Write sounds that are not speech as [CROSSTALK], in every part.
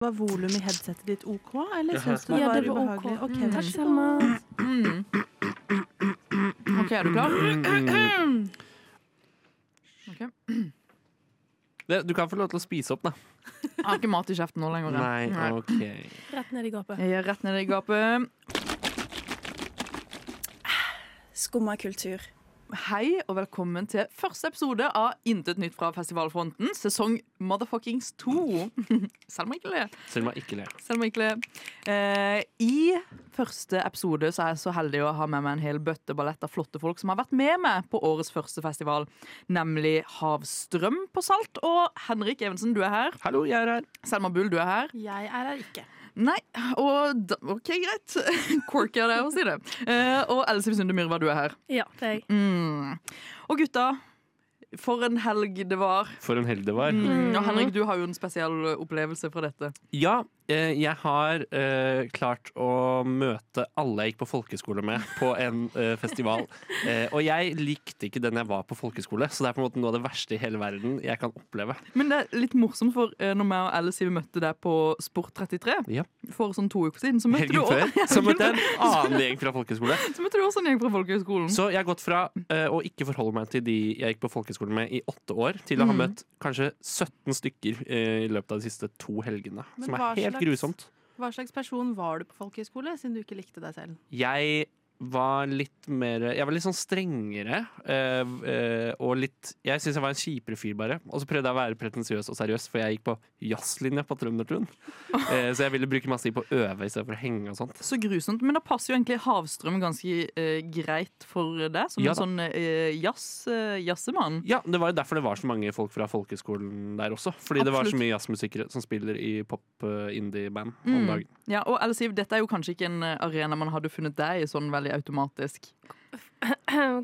Var volumet i headsetet ditt OK, eller Ja, syns du det Ja, var det var OK. ubehagelig? Ok, Mm. vær Takk, så god. Selma. Mm. OK, er du klar? Ok. Det, du kan få lov til å spise opp, da. Jeg har ikke mat i kjeften nå lenger. jeg. Nei, OK. Rett ned i gapet. Jeg gjør rett ned i gapet. Skumma kultur. Hei og velkommen til første episode av Intet nytt fra festivalfronten, sesong motherfuckings 2. [LAUGHS] Selv om jeg ikke ler. Selma ikke ler. Selv om jeg ikke ler. Eh, I første episode så er jeg så heldig å ha med meg en hel bøtte ballett av flotte folk som har vært med meg på årets første festival, nemlig Havstrøm på Salt. Og Henrik Evensen, du er her. Hallo, jeg er her. Selma Bull, du er her. Jeg er her ikke. Nei, og da, OK, greit. [LAUGHS] Quirky av deg å si det. Eh, og Else Sunde Myrva, du er her. Ja, det er jeg. Mm. Og gutta, for en helg det var. For en helg det var. Mm. Og Henrik, du har jo en spesiell opplevelse fra dette. Ja, eh, jeg har eh, klart å møte alle jeg gikk på folkeskole med på en eh, festival. Eh, og jeg likte ikke den jeg var på folkeskole, så det er på en måte noe av det verste i hele verden jeg kan oppleve. Men det er litt morsomt, for eh, når meg og Alice vi møtte deg på Sport 33 Ja. for sånn to uker siden, så møtte, du Helgen også, før så møtte jeg en annen gjeng fra folkeskole. [LAUGHS] så møtte du også en gjeng fra folkehøgskolen. Så jeg har gått fra eh, å ikke forholde meg til de jeg gikk på folkeskole med i åtte år, til å ha Mm. møtt kanskje 17 stykker eh, i løpet av de siste to helgene. Men Som hva er helt slags- grusomt. Hva slags person var du på folkehøyskole, siden du ikke likte deg selv? Jeg var litt mer Jeg var litt sånn strengere. eh, eh, og litt Jeg syns jeg var en kjipere fyr, bare. Og så prøvde jeg å være pretensiøs og seriøs, for jeg gikk på jazzlinja på Trøndertun. [LAUGHS] Eh, så jeg ville bruke masse tid på å øve istedenfor å henge og sånn. sånt. Så grusomt, men da passer jo egentlig Havstrøm ganske eh, greit for deg, som Ja en da. sånn eh, jazz, eh, jazzemann. Ja, Det var jo derfor det var så mange folk fra folkeskolen der også. Fordi det var så Absolutt. mye jazzmusikere som spiller i pop-indie-band om Mm. dagen. Ja, og Alice, Siv, dette er jo kanskje ikke en eh, arena man hadde funnet deg i sånn veldig automatisk. Mm. [CLEARS THROAT]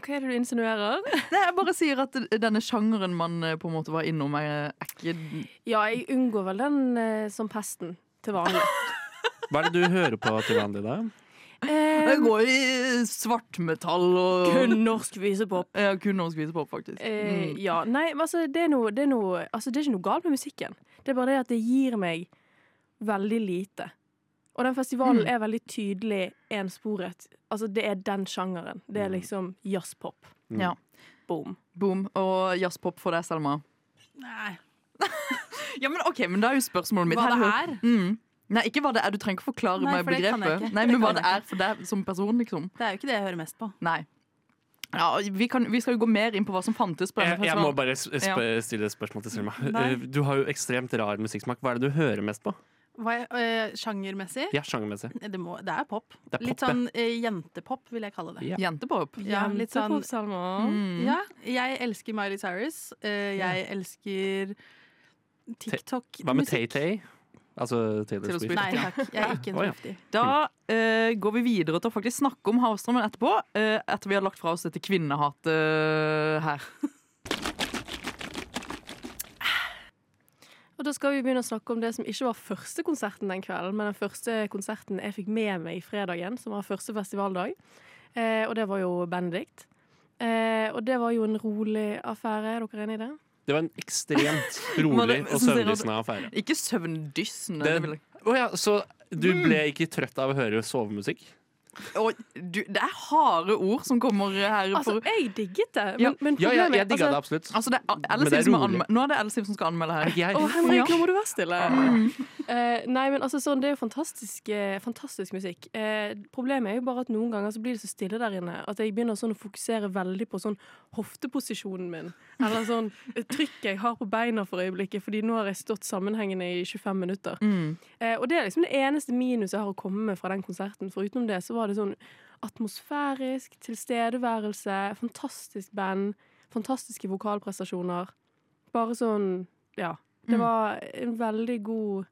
Hva er det du insinuerer? Nei, jeg bare sier at denne sjangeren man eh, på en måte var innom, er er ikke Ja, jeg unngår vel den eh, som pesten til vanlig. Hva er det du hører på til vanlig, da? Det [LAUGHS] Eh, går i svartmetall og kun norsk visepop. Ja, kun når hun spiser pop, faktisk. Eh, Mm. ja, nei, men altså det, er noe, det, er noe, altså det er ikke noe galt med musikken. Det er bare det at det gir meg veldig lite. Og den festivalen Mm. er veldig tydelig ensporet. Altså, det er den sjangeren. Det er liksom jazzpop. Mm. Mm. Ja. Boom. Boom. Og jazzpop for deg, Selma. Nei. Ja, men ok, men da er jo spørsmålet mitt Hva Her det hø- er? Mm. Nei, ikke hva det er. Du trenger ikke forklare Nei, meg for det kan jeg begrepet. ikke. Nei, Det men hva kan jeg det er for deg som person, liksom. Det er jo ikke det jeg hører mest på. Nei. Ja, vi, kan, vi skal jo gå mer inn på hva som fantes på denne Jeg, jeg må festivalen. bare s- sp stille et spørsmål til Selma. Nei. Eh, Du har jo ekstremt rar musikksmak. Hva er det du hører mest på? Hva jeg, øh, sjangermessig? Ja, sjangermessig. Det, må, det er pop. Det er Litt pop, ja. sånn øh, jentepop, vil jeg kalle det. Ja. Jentepop. Ja, litt sånn- Jentepop, Selma. Mm. Ja, jeg elsker Miley Cyrus. øh, jeg elsker TikTok. Hva med musikk. Tay-Tay? Altså Taylor Taylor Swift. Nei takk, jeg er ikke en Å, ja. Swiftie. Da eh, går vi videre til å faktisk snakke om Havstrømmen etterpå. eh, etter vi har lagt fra oss dette kvinnehatet eh, her. Og da skal vi begynne å snakke om det som ikke var første konserten den kvelden, men den første konserten jeg fikk med meg fredagen, som var første festivaldag. Eh, og det var jo Benedict. Eh, og det var jo en rolig affære. Er dere enig i det? Det var en ekstremt Var rolig det- og søvndyssende affære. Ikke søvndyssende. Det- det vil jeg- Å ja, så du ble ikke trøtt av å høre sovemusikk? Og du, det er harde ord som kommer her. Altså, for, jeg digget det! Men, Ja. men Ja, ja, problemet- jeg digga det altså, absolutt. altså det er Men Elle det er Siv som er rolig. anme- Nå er det Elsiv som skal anmelde her. Jeg, Å, Henrik, Ja. nå må du være stille! Eh, nei, men altså, sånn, Det er jo fantastisk, eh, fantastisk musikk. Eh, problemet er jo bare at noen ganger så blir det så stille der inne at jeg begynner sånn å fokusere veldig på sånn hofteposisjonen min. Eller sånn trykket jeg har på beina for øyeblikket, fordi nå har jeg stått sammenhengende i 25 minutter. Mm. Eh, og det er liksom det eneste minuset jeg har å komme med fra den konserten. For utenom det så var det sånn atmosfærisk, tilstedeværelse, fantastisk band, fantastiske vokalprestasjoner. Bare sånn, ja. Det Mm. var en veldig god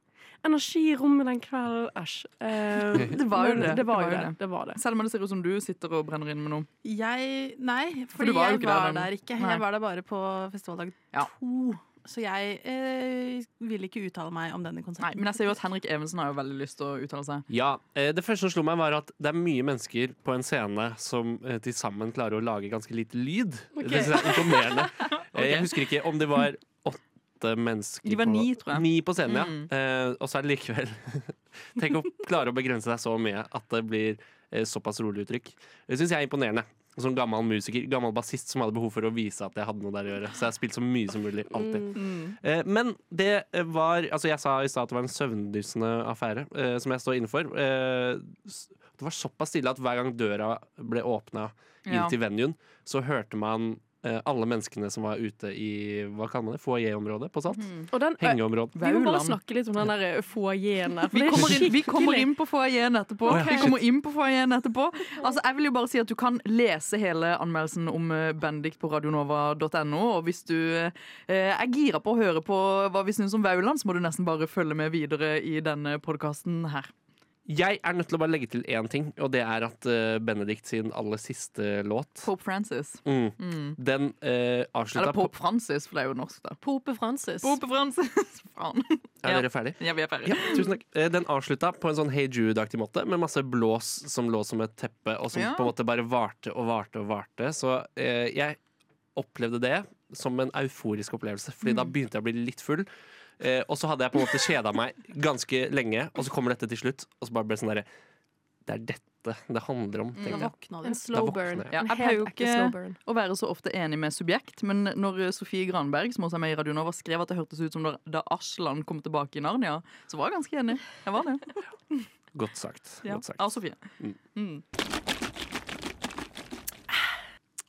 energi i rommet den kvelden. Æsj. Eh, [LAUGHS] Det var jo men det. Det var jo det. det, var det. Selv om det ser ut som du sitter og brenner inn med noe. Jeg Nei, For fordi du var jo jeg ikke der var den- der ikke. Nei. Jeg var der bare på festivaldag Ja. to. Så jeg eh, vil ikke uttale meg om denne Nei, konserten. men jeg ser jo at Henrik Evensen har jo veldig lyst til å uttale seg. Ja, eh, Det første som slo meg, var at det er mye mennesker på en scene som eh, til sammen klarer å lage ganske lite lyd. Ok. Det synes jeg er imponerende. Eh, Jeg husker ikke om det var åt- åtte mennesker De var på, ni, tror jeg. Ni på scenen, Mm. ja. Eh, og så er det likevel [LAUGHS] Tenk å klare å begrense deg så mye at det blir eh, såpass rolig uttrykk. Det syns jeg er imponerende. Som gammel musiker, gammel bassist som hadde behov for å vise at jeg hadde noe der å gjøre. Så jeg har spilt så mye som mulig. Alltid. Eh, Men det eh, var Altså, jeg sa i stad at det var en søvndyssende affære eh, som jeg står inne for. Eh, s- det var såpass stille at hver gang døra ble åpna inn Ja. til venuen, så hørte man eh, alle menneskene som var ute i hva kaller man det, foajé-området på Salt. Mm. Og den, eh, Hengeområdet. vi må bare Vauland. snakke litt om den der eh, foajeen der. for Vi det er kommer inn, vi skikkelig- kommer inn på foajeen etterpå. Å, ja, Vi shit. kommer inn på foajeen etterpå. Altså, jeg vil jo bare si at Du kan lese hele anmeldelsen om eh, Bendik på radionova.no. Og hvis du eh, er gira på å høre på hva vi syns om Vauland, så må du nesten bare følge med videre i denne podkasten her. Jeg er nødt til å bare legge til én ting, og det er at eh, Benedikt sin aller siste låt Pope Francis. mm, Mm. Den eh, Eller avslutta på Pope Francis, for det er jo norsk, da. Pope Francis. Pope Francis! [LAUGHS] Faen. Er ja. dere ferdig? Ja, vi er ferdig. Ja, tusen takk. Eh, Den avslutta på en sånn Hey Jude-aktig måte, med masse blås som lå som et teppe, og som Ja. på en måte bare varte og varte og varte. Så eh, jeg opplevde det som en euforisk opplevelse, Fordi Mm. da begynte jeg å bli litt full. Eh, og så hadde jeg på en måte kjeda meg ganske lenge, og så kommer dette til slutt, og så bare ble det sånn derre Det er dette det handler om, Da tenkte Mm. jeg. våkna En du. Da slow våkner burn. jeg. Ja, En jeg helt pleier jo ekte ikke- slow burn. å være så ofte enig med subjekt, men når eh, Sofie Granberg som også er med i Radio Nova, skrev at det hørtes ut som da- da Aslan kom tilbake i Narnia, så var jeg ganske enig. Jeg var det. Godt sagt. Ja. Godt sagt. Av Sofie. Mm. Mm.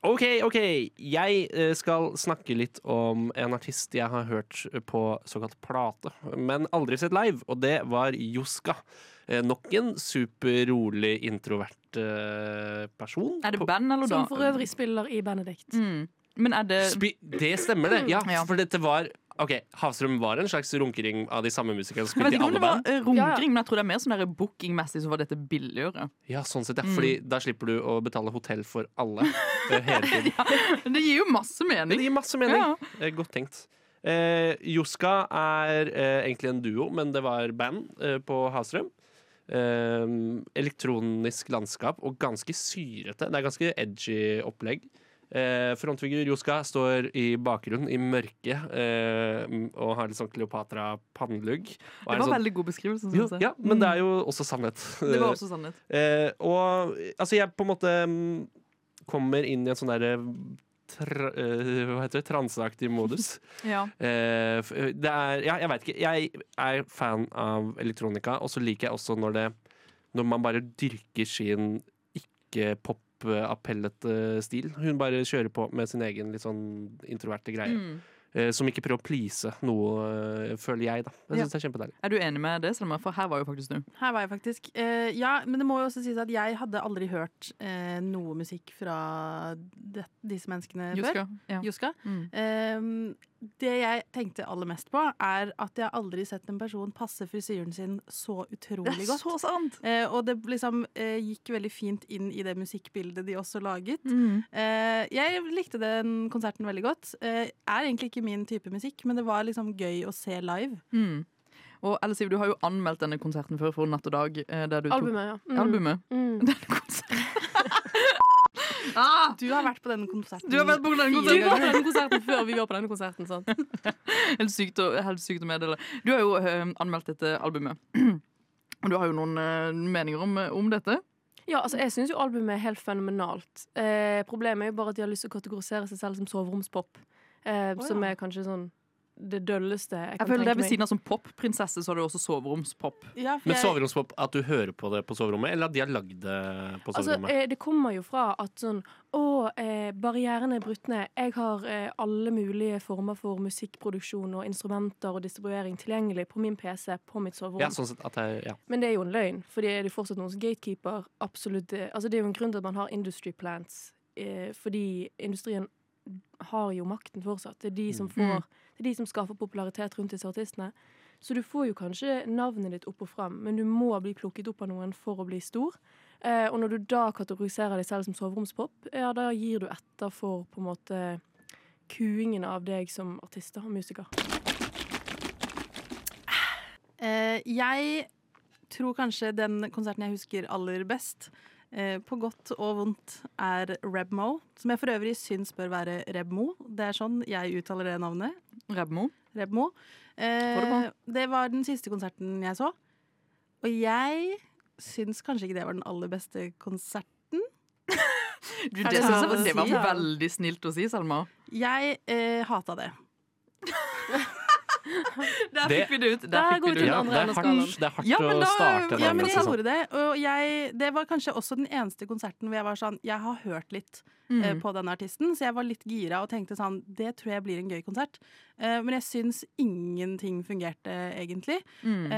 Ok, ok. Jeg eh, skal snakke litt om en artist jeg har hørt på såkalt plate, men aldri sett live, og det var Joska. Eh, Nok en superrolig, introvert eh, person. Er det band eller da? Som for øvrig spiller i Benedict. Mm. Men er det Spi det stemmer, det. Ja, Ja. for dette var Ok, Havstrøm var en slags runkering av de samme musikerne som jeg vet spilte i ikke om alle det var band. eh, Ja, ja. runkring, men jeg tror det er mer sånn der bookingmessig så var dette billigere. Ja, sånn sett, ja. Fordi Mm. da slipper du å betale hotell for alle eh, [LAUGHS] hele tiden. Det gir jo masse Men det mening. gir masse mening. Ja. Eh, Godt tenkt. Eh, Joska er eh, egentlig en duo, men det var band eh, på Havstrøm. Eh, elektronisk landskap og ganske syrete. Det er ganske edgy opplegg. Eh, frontfigur Joska står i bakgrunnen i mørket eh, og har litt sånn Kleopatra-pannelugg. Og Det er en var sånn- veldig god beskrivelse, jo, syns jeg. ja, men det er jo også sannhet. Det [LAUGHS] var også sannhet. Eh, og altså, jeg på en måte mm, kommer inn i en sånn derre tra, eh, Hva heter det? Transeaktig modus. Ja. Eh, f- det er Ja, jeg veit ikke. Jeg er fan av elektronika, og så liker jeg også når det Når man bare dyrker sin ikke-pop-appellete stil. Hun bare kjører på med sin egen litt sånn introverte greie. Mm. Eh, som ikke prøver å please noe, eh, føler jeg, da. Jeg Ja. syns det er kjempedeilig. Er du enig med det, Selma? For her var jo faktisk du. Her var jeg faktisk. Eh, ja, men det må jo også sies at jeg hadde aldri hørt eh, noe musikk fra det, disse menneskene før. Juska. Ja. Juska. Mm. Ehm, det jeg tenkte aller mest på, er at jeg aldri sett en person passe frisyren sin så Det utrolig er godt. så sant! Eh, og det liksom eh, gikk veldig fint inn i det musikkbildet de også laget. Mm. Eh, jeg likte den konserten veldig godt. Eh, er egentlig ikke min type musikk, men det var liksom gøy å se live. Mm. Og Elle Siv, du har jo anmeldt denne konserten før for Natt og dag. eh, Der du tok Albumet, ja. Mm. Albumet. Mm. Denne konserten. ah, Du har vært på denne konserten. du har vært på denne Du var konserten! på denne konserten før vi var på denne konserten, sant? Helt sykt å, helt sykt å meddele. Du har jo eh, anmeldt dette albumet. [CLEARS THROAT] Og du har jo noen eh, meninger om, om dette. Ja, altså Jeg syns jo albumet er helt fenomenalt. Eh, problemet er jo bare at de har lyst til å kategorisere seg selv som soveromspop. Eh, Å, Som ja. er kanskje sånn det dølleste jeg Jeg kan føler det tenke er Ved meg. siden av som popprinsesse så har du også soveromspop. Ja, for Men jeg, soveromspop, at du hører på det på soverommet, eller at de har lagd det på Altså, soverommet? eh, det kommer jo fra at sånn Å, eh, barrierene er brutt ned. Jeg har eh, alle mulige former for musikkproduksjon og instrumenter og distribuering tilgjengelig på min PC på mitt soverom. ja, sånn sett at jeg, ja. Men det er jo en løgn, Fordi det er jo fortsatt noen som gatekeeper. Absolutt, det- altså det er jo en grunn til at man har industry plants, eh, fordi industrien har jo makten fortsatt. Det er de som, får, det er de som skaffer popularitet rundt disse artistene. Så du får jo kanskje navnet ditt opp og fram, men du må bli plukket opp av noen for å bli stor. Eh, og når du da kategoriserer deg selv som soveromspop, ja, da gir du etter for på en måte kuingen av deg som artist da, og musiker. eh, jeg tror kanskje den konserten jeg husker aller best, eh, på godt og vondt er Rebmo, som jeg for øvrig syns bør være Rebmo. Det er sånn jeg uttaler det navnet. Rebmo. Rebmo. Eh, det var den siste konserten jeg så. Og jeg syns kanskje ikke det var den aller beste konserten. Du, Er det, det synes lov å jeg var, det var si, da? veldig snilt å si, Selma. Jeg eh, hata det. Der Det- fikk vi det ut. Der Der fikk går vi det det unna. ut. andre Ja, det er enden av hardt, skalaen. det er hardt Ja, men å da- starte en Ja, men anmeldelse jeg sånn. gjorde det. Og jeg, det var kanskje også den eneste konserten hvor jeg var sånn Jeg har hørt litt Mhm. eh, Mm. på denne artisten, så jeg var litt gira og tenkte sånn Det tror jeg blir en gøy konsert. Eh, men jeg syns ingenting fungerte, egentlig. Mm.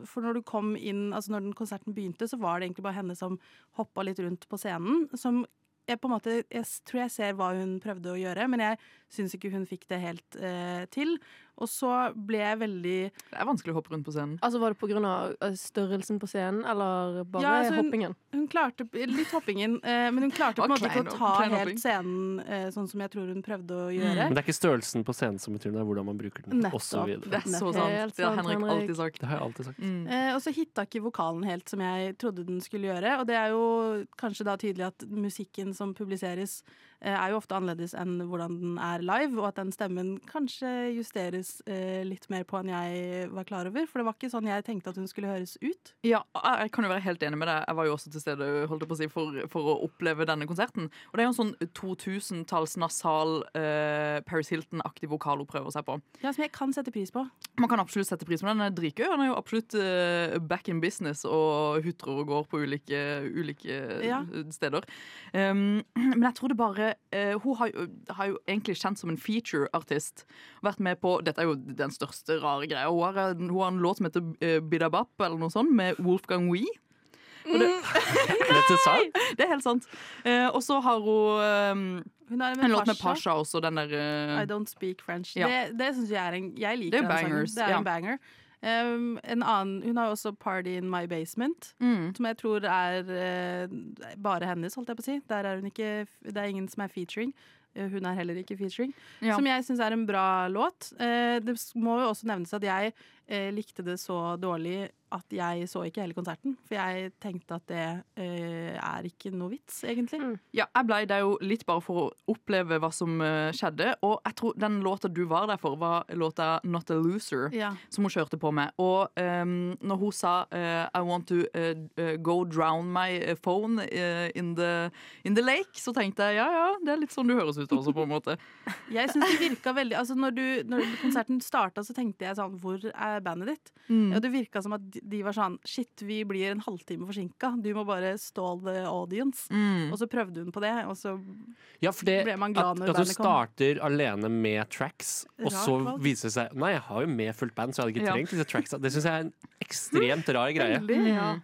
Eh, for når du kom inn Altså når den konserten begynte, så var det egentlig bare henne som hoppa litt rundt på scenen. Som jeg på en måte Jeg s- tror jeg ser hva hun prøvde å gjøre, men jeg syns ikke hun fikk det helt eh, til. Og så ble jeg veldig Det er vanskelig å hoppe rundt på scenen. Altså Var det pga. størrelsen på scenen, eller bare Ja, altså, hun- hoppingen? Hun klarte litt hoppingen, eh, men hun klarte på en Og måte ikke klein- å ta klein hopping. helt scenen eh, sånn som jeg tror hun prøvde å gjøre. Men det er ikke størrelsen på scenen som betyr noe, det er hvordan man bruker den. og så Nettopp. videre. Det er Helt så sant. Det har sant, Henrik Henrik. alltid sagt. Det har jeg alltid sagt. Mm. Eh, og så hitta ikke vokalen helt som jeg trodde den skulle gjøre. Og det er jo kanskje da tydelig at musikken som publiseres eh, er jo ofte annerledes enn hvordan den er live, og at den stemmen kanskje justeres eh, litt mer på enn jeg var klar over. For det var ikke sånn jeg tenkte at hun skulle høres ut. Ja, jeg jeg kan jo være helt enig med deg. Jeg var jo også til stede holdt jeg på å si, for, for å oppleve denne konserten. Og det er jo en sånn 2000-talls nasal eh, Paris Hilton-aktig vokal hun prøver seg på. Ja, Som jeg kan sette pris på. Man kan absolutt sette pris på den. Den er dritgøy. og Den er jo absolutt eh, back in business og hutrer og går på ulike, ulike Ja. steder. Um, men jeg tror det bare eh, Hun har jo, har jo egentlig kjent som en feature-artist. Vært med på Dette er jo den største rare greia. Hun har, en- hun har en låt som heter eh, Bidabap, eller noe sånt, med Wolfgang Wee. Dette sa jeg. [LAUGHS] Det er helt sant. Eh, og så har hun eh, Hun har en låt med Pasha også, den der eh, I don't speak French. Ja. Det, det syns jeg er en Jeg liker Det den er bangers, sangen. Det er ja. en banger. Um, en annen Hun har jo også 'Party in My Basement', mm. som jeg tror er eh, bare hennes, holdt jeg på å si. Der er hun ikke Det er ingen som er featuring. Eh, Hun er heller ikke featuring. Ja. Som jeg syns er en bra låt. Eh, det s- må jo også nevnes at jeg eh, likte det så dårlig at jeg så ikke hele konserten. For jeg tenkte at det eh, er ikke noe vits, egentlig. Mm. Ja, jeg blei der jo litt bare for å oppleve hva som eh, skjedde. Og jeg tror den låta du var der for, var låta 'Not a Loser', Ja. som hun kjørte på med. Og ehm, når hun sa eh, 'I want to eh, eh, go drown my phone eh, in, the, in the lake', så tenkte jeg ja ja, det er litt sånn du høres ut også, på en måte. Jeg synes det virka veldig Altså når, du, når konserten starta, så tenkte jeg sånn Hvor er bandet ditt? Mm. Og det virka som at de- de var sånn Shit, vi blir en halvtime forsinka. Du må bare stall the audience. Mm. Og så prøvde hun på det, og så Ja, for det, Ble man at, glad når at du bandet kom? starter alene med tracks, og Rart så valg. viser det seg Nei, jeg har jo med fullt band, så jeg hadde ikke Ja. trengt disse tracksa. Det syns jeg er en ekstremt rar [LAUGHS] greie. Mm. ja.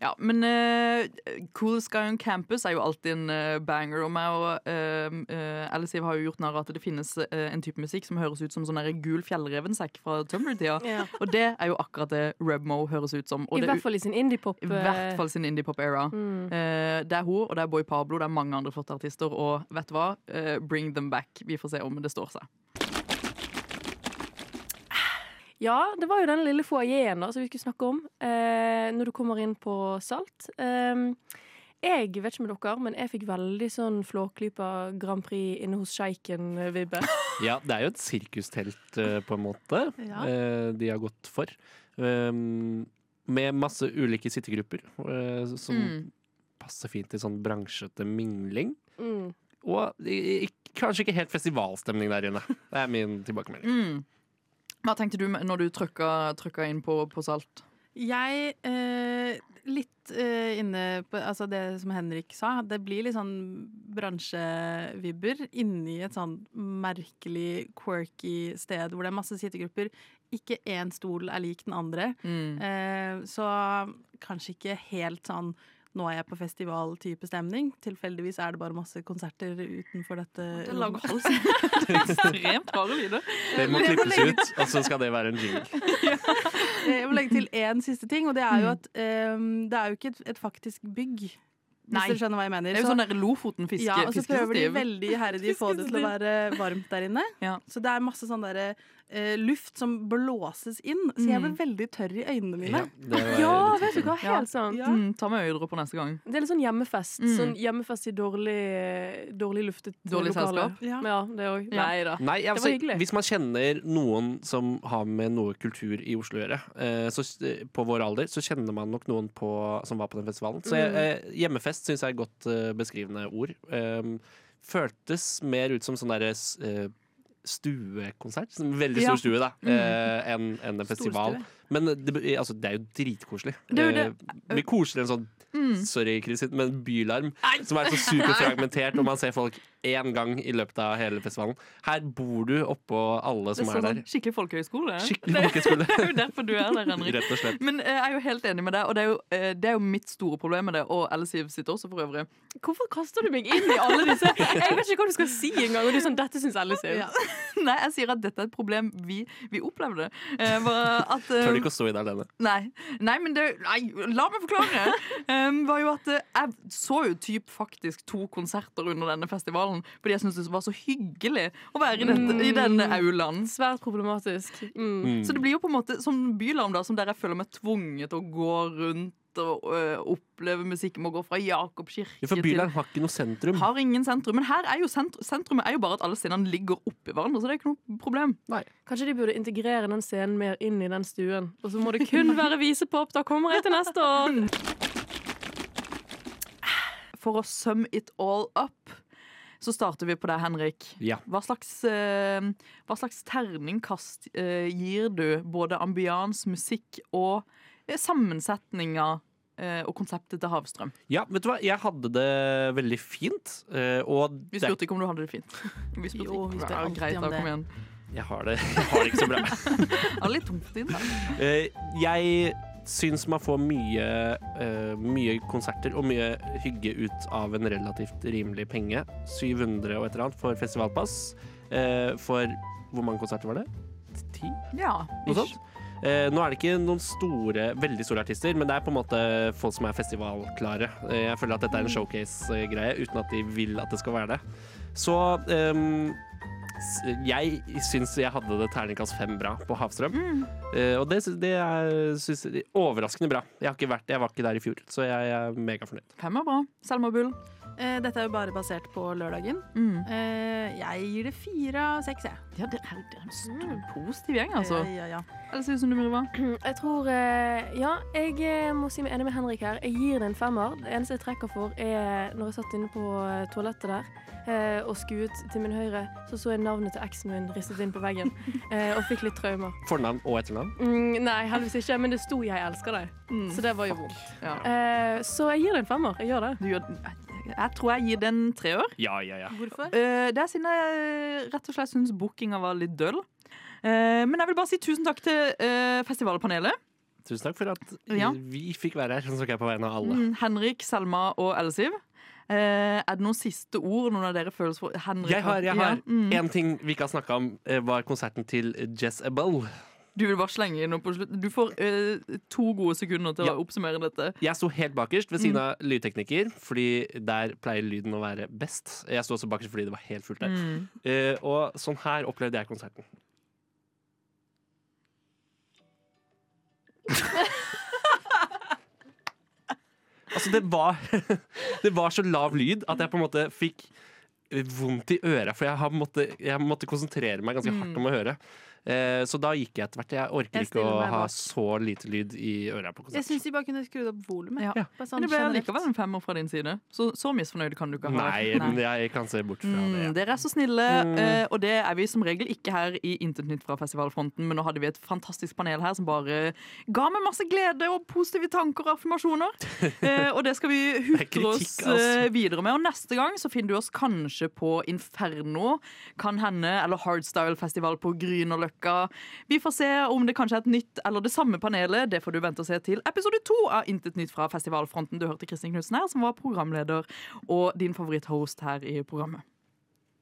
Ja, men eh, Cool Sky on Campus er jo alltid en eh, banger. Og meg og ehm, eh, Alice Eve har jo gjort narr av at det finnes eh, en type musikk som høres ut som sånn der gul fjellrevensekk fra Tumblr-tida. Og det er jo akkurat det Rebmo høres ut som. Og I det, hvert fall i sin indiepop. eh, I hvert fall sin indiepop-era. Eh, det er hun, og det er Boy Pablo, det er mange andre flotte artister. Og vet du hva? Eh, bring them back. Vi får se om det står seg. Ja, det var jo den lille foajeen som vi skulle snakke om eh, når du kommer inn på Salt. Ehm, jeg vet ikke med dere, men jeg fikk veldig sånn Flåklypa Grand Prix inne hos [LAUGHS] sjeiken-vibbe. Ja, det er jo et sirkustelt, eh, på en måte, Ja. eh, de har gått for. Um, med masse ulike sittegrupper, eh, som Mm. passer fint i sånn bransjete mingling. Mm. Og i- i- kanskje ikke helt festivalstemning der inne. Det er min tilbakemelding. Mm. Hva tenkte du med- når du trykka, trykka inn på, på Salt? Jeg eh, Litt eh, inne på altså det som Henrik sa. Det blir litt sånn bransjevibber inni et sånn merkelig, quirky sted hvor det er masse sittegrupper. Ikke én stol er lik den andre. Mm. Eh, så kanskje ikke helt sånn nå er jeg på festival-type stemning. Tilfeldigvis er det bare masse konserter utenfor dette Det rommet. lager [LAUGHS] halsen. Det er ekstremt rare lyder. Det må Jeg må klippes legge- ut, og så skal det være en jingle. ehm, Eh, Jeg må legge til én siste ting, og det er jo at eh, det er jo ikke et, et faktisk bygg Hvis Nei. dere skjønner hva jeg mener. Det er jo Så- sånn der Lofoten-fiske. ja, og så prøver de fiskestativ. veldig iherdig å få det til å være varmt der inne. Ja. Så det er masse sånn der, eh, luft som blåses inn. Så jeg ble Mm. veldig tørr i øynene mine. Ja, det var Ja, litt vet du irriterende. hva, Ja. helt sant. Ja. Mm, ta med øyedråper neste gang. Det er litt sånn hjemmefest. Mm. Sånn hjemmefest i dårlig, dårlig luftet Dårlig lokale. selskap. Ja. Ja, det òg. Ja. Nei da. Nei, Det altså, var hyggelig. Hvis man kjenner noen som har med noe kultur i Oslo å gjøre, eh, så, eh, på vår alder, så kjenner man nok noen på, som var på den festivalen. Så Mm. jeg, eh, hjemmefest syns jeg er et godt eh, beskrivende ord. Um, føltes mer ut som sånn derre s- eh, stuekonsert. Som en veldig Ja. Mm. stor stue, da. Eh, enn enn en festival. Storstue. Men det, be- altså, det er jo dritkoselig. Det Mm. er jo Eh, mye koseligere enn sånn Sorry, Kristin, men bylarm, som er så superfragmentert, og man ser folk én gang i løpet av hele festivalen. Her bor du oppå alle Det som er er sånn der. skikkelig folkehøyskole. Skikkelig folkeskole, [LAUGHS] Det er jo derfor du er [LAUGHS] der, Henrik. rett og slett. Men eh, jeg er jo helt enig med deg, og det er jo, eh, det er jo mitt store problem med det. Og Ellisiv sitt også, for øvrig. [LAUGHS] Hvorfor kaster du meg inn i alle disse Jeg vet ikke hva du skal si engang. Og du er sånn, dette syns Alice er jo Ja. Nei, jeg sier at dette er et problem vi, vi opplevde. Eh, bare at eh, [LAUGHS] Tør du ikke å stå i det alene? Nei, nei men det Nei, la meg [LAUGHS] forklare! Um, var jo at eh, Jeg så jo typ faktisk to konserter under denne festivalen fordi jeg syntes det var så hyggelig å være i, dette, i denne Mm. aulaen. svært problematisk. Mm. Mm. Så det blir jo på en måte som bylarm, da, som der jeg føler meg tvunget til å gå rundt og eh, oppleve musikk. Må gå fra Jakob kirke Ja, For bylarm Mm. har ikke noe sentrum. har ingen sentrum, men her er jo sentrum, sentrumet er jo bare at alle scenene ligger oppi hverandre. Så det er ikke noe problem. Kanskje de burde integrere den scenen mer inn i den stuen. Og så må det [LAUGHS] kun være visepop. Da kommer jeg til neste år! For å sum it all up, så starter vi på deg, Henrik. Ja. Hva slags, eh, hva slags terningkast eh, gir du både ambians, musikk og eh, sammensetninga eh, og konseptet til Havstrøm? ja, vet du hva, jeg hadde det veldig fint, eh, og Vi det er spurte ikke om du hadde det fint. [LAUGHS] Vi spurte Jo, ikke. vi spør Ja, alltid greit, om da, det. kom igjen. Jeg har det, jeg har det ikke så bra. Det er litt tungt i det. Eh, jeg syns man får mye, eh, mye konserter og mye hygge ut av en relativt rimelig penge. 700 og et eller annet for festivalpass. Eh, for hvor mange konserter var det? Ti? Ja. Noe sånt? Eh, nå er det ikke noen store, veldig store artister, men det er på en måte folk som er festivalklare. Eh, jeg føler at dette er en showcase-greie, uten at de vil at det skal være det. Så ehm, s- jeg syns jeg hadde det terningkast fem bra på Havstrøm. Eh, og det, sy- det er synes, jeg- overraskende bra. Jeg, har ikke vært, jeg var ikke der i fjor, så jeg er megafornøyd. Fem er bra. Selma Bull. Eh, Dette er jo bare basert på lørdagen. Mm. Eh, Jeg gir det fire av seks, jeg. Ja, det er, det Mm. er en stor, positiv gjeng, altså. Ja, ja, ja. Eller sier du som du vil, hva? Jeg tror eh, Ja, jeg eh, må si meg enig med Henrik her. Jeg gir det en femmer. Det eneste jeg trekker for, er når jeg satt inne på eh, toalettet der eh, og skuet til min høyre, så så jeg navnet til eksen min ristet inn på [LAUGHS] veggen eh, og fikk litt traumer. Fornavn og etternavn. Mm, nei, heldigvis ikke, men det sto 'jeg elsker deg', Mm. så det var jo vondt. Ja. Eh, så jeg gir det en femmer. Jeg gjør det. Du gjør, jeg, jeg tror jeg gir den tre år. Ja, ja, ja. Hvorfor? Eh, det er siden jeg eh, rett og slett syns bookinga var litt døll. Eh, men jeg vil bare si tusen takk til eh, festivalpanelet. Tusen takk for at Ja. vi fikk være her. Sånn snakker jeg på vegne av alle. Mm, Henrik, Selma og Ellisiv. Eh, er det noen siste ord noen av dere føles for Henrik? Jeg har, jeg har Ja. Mm. en ting vi ikke har snakka om, eh, var konserten til Jess Abel. Du vil bare slenge inn noe på slutt. Du får eh, to gode sekunder til Ja. å oppsummere dette. Jeg sto helt bakerst ved siden Mm. av lydtekniker, fordi der pleier lyden å være best. Jeg sto også bakerst fordi det var helt fullt der. Mm. Eh, og sånn her opplevde [LAUGHS] jeg konserten. altså, det var [LAUGHS] Det var så lav lyd at jeg på en måte fikk vondt i øret, for jeg, har måtte, jeg måtte konsentrere meg ganske hardt om å høre. Eh, så da gikk jeg etter hvert. Jeg orker Mm. Jeg ikke å stiller meg ha bak. så lite lyd i øra på Jeg konsert. syns de bare kunne skrudd opp volumet. Ja. Bare sånn Men det ble generelt. likevel en femmer fra din side. Så, så misfornøyd kan du ikke ha Nei, men jeg kan se bort fra Mm, det. Mm. dere er så snille, eh, og det er vi som regel ikke her i Intet nytt fra festivalfronten, men nå hadde vi et fantastisk panel her som bare ga meg masse glede og positive tanker og [LAUGHS] affirmasjoner. Eh, og det skal vi Det er hutre oss kritikk, altså. eh, videre med. Og neste gang så finner du oss kanskje på Inferno, kan hende, eller Hardstyle-festival på Grünerløkka. Vi får se om det kanskje er et nytt eller det samme panelet. Det får du vente og se til episode to av Intet nytt fra festivalfronten. Du hørte Kristin Knutsen her, som var programleder og din favoritthost her i programmet.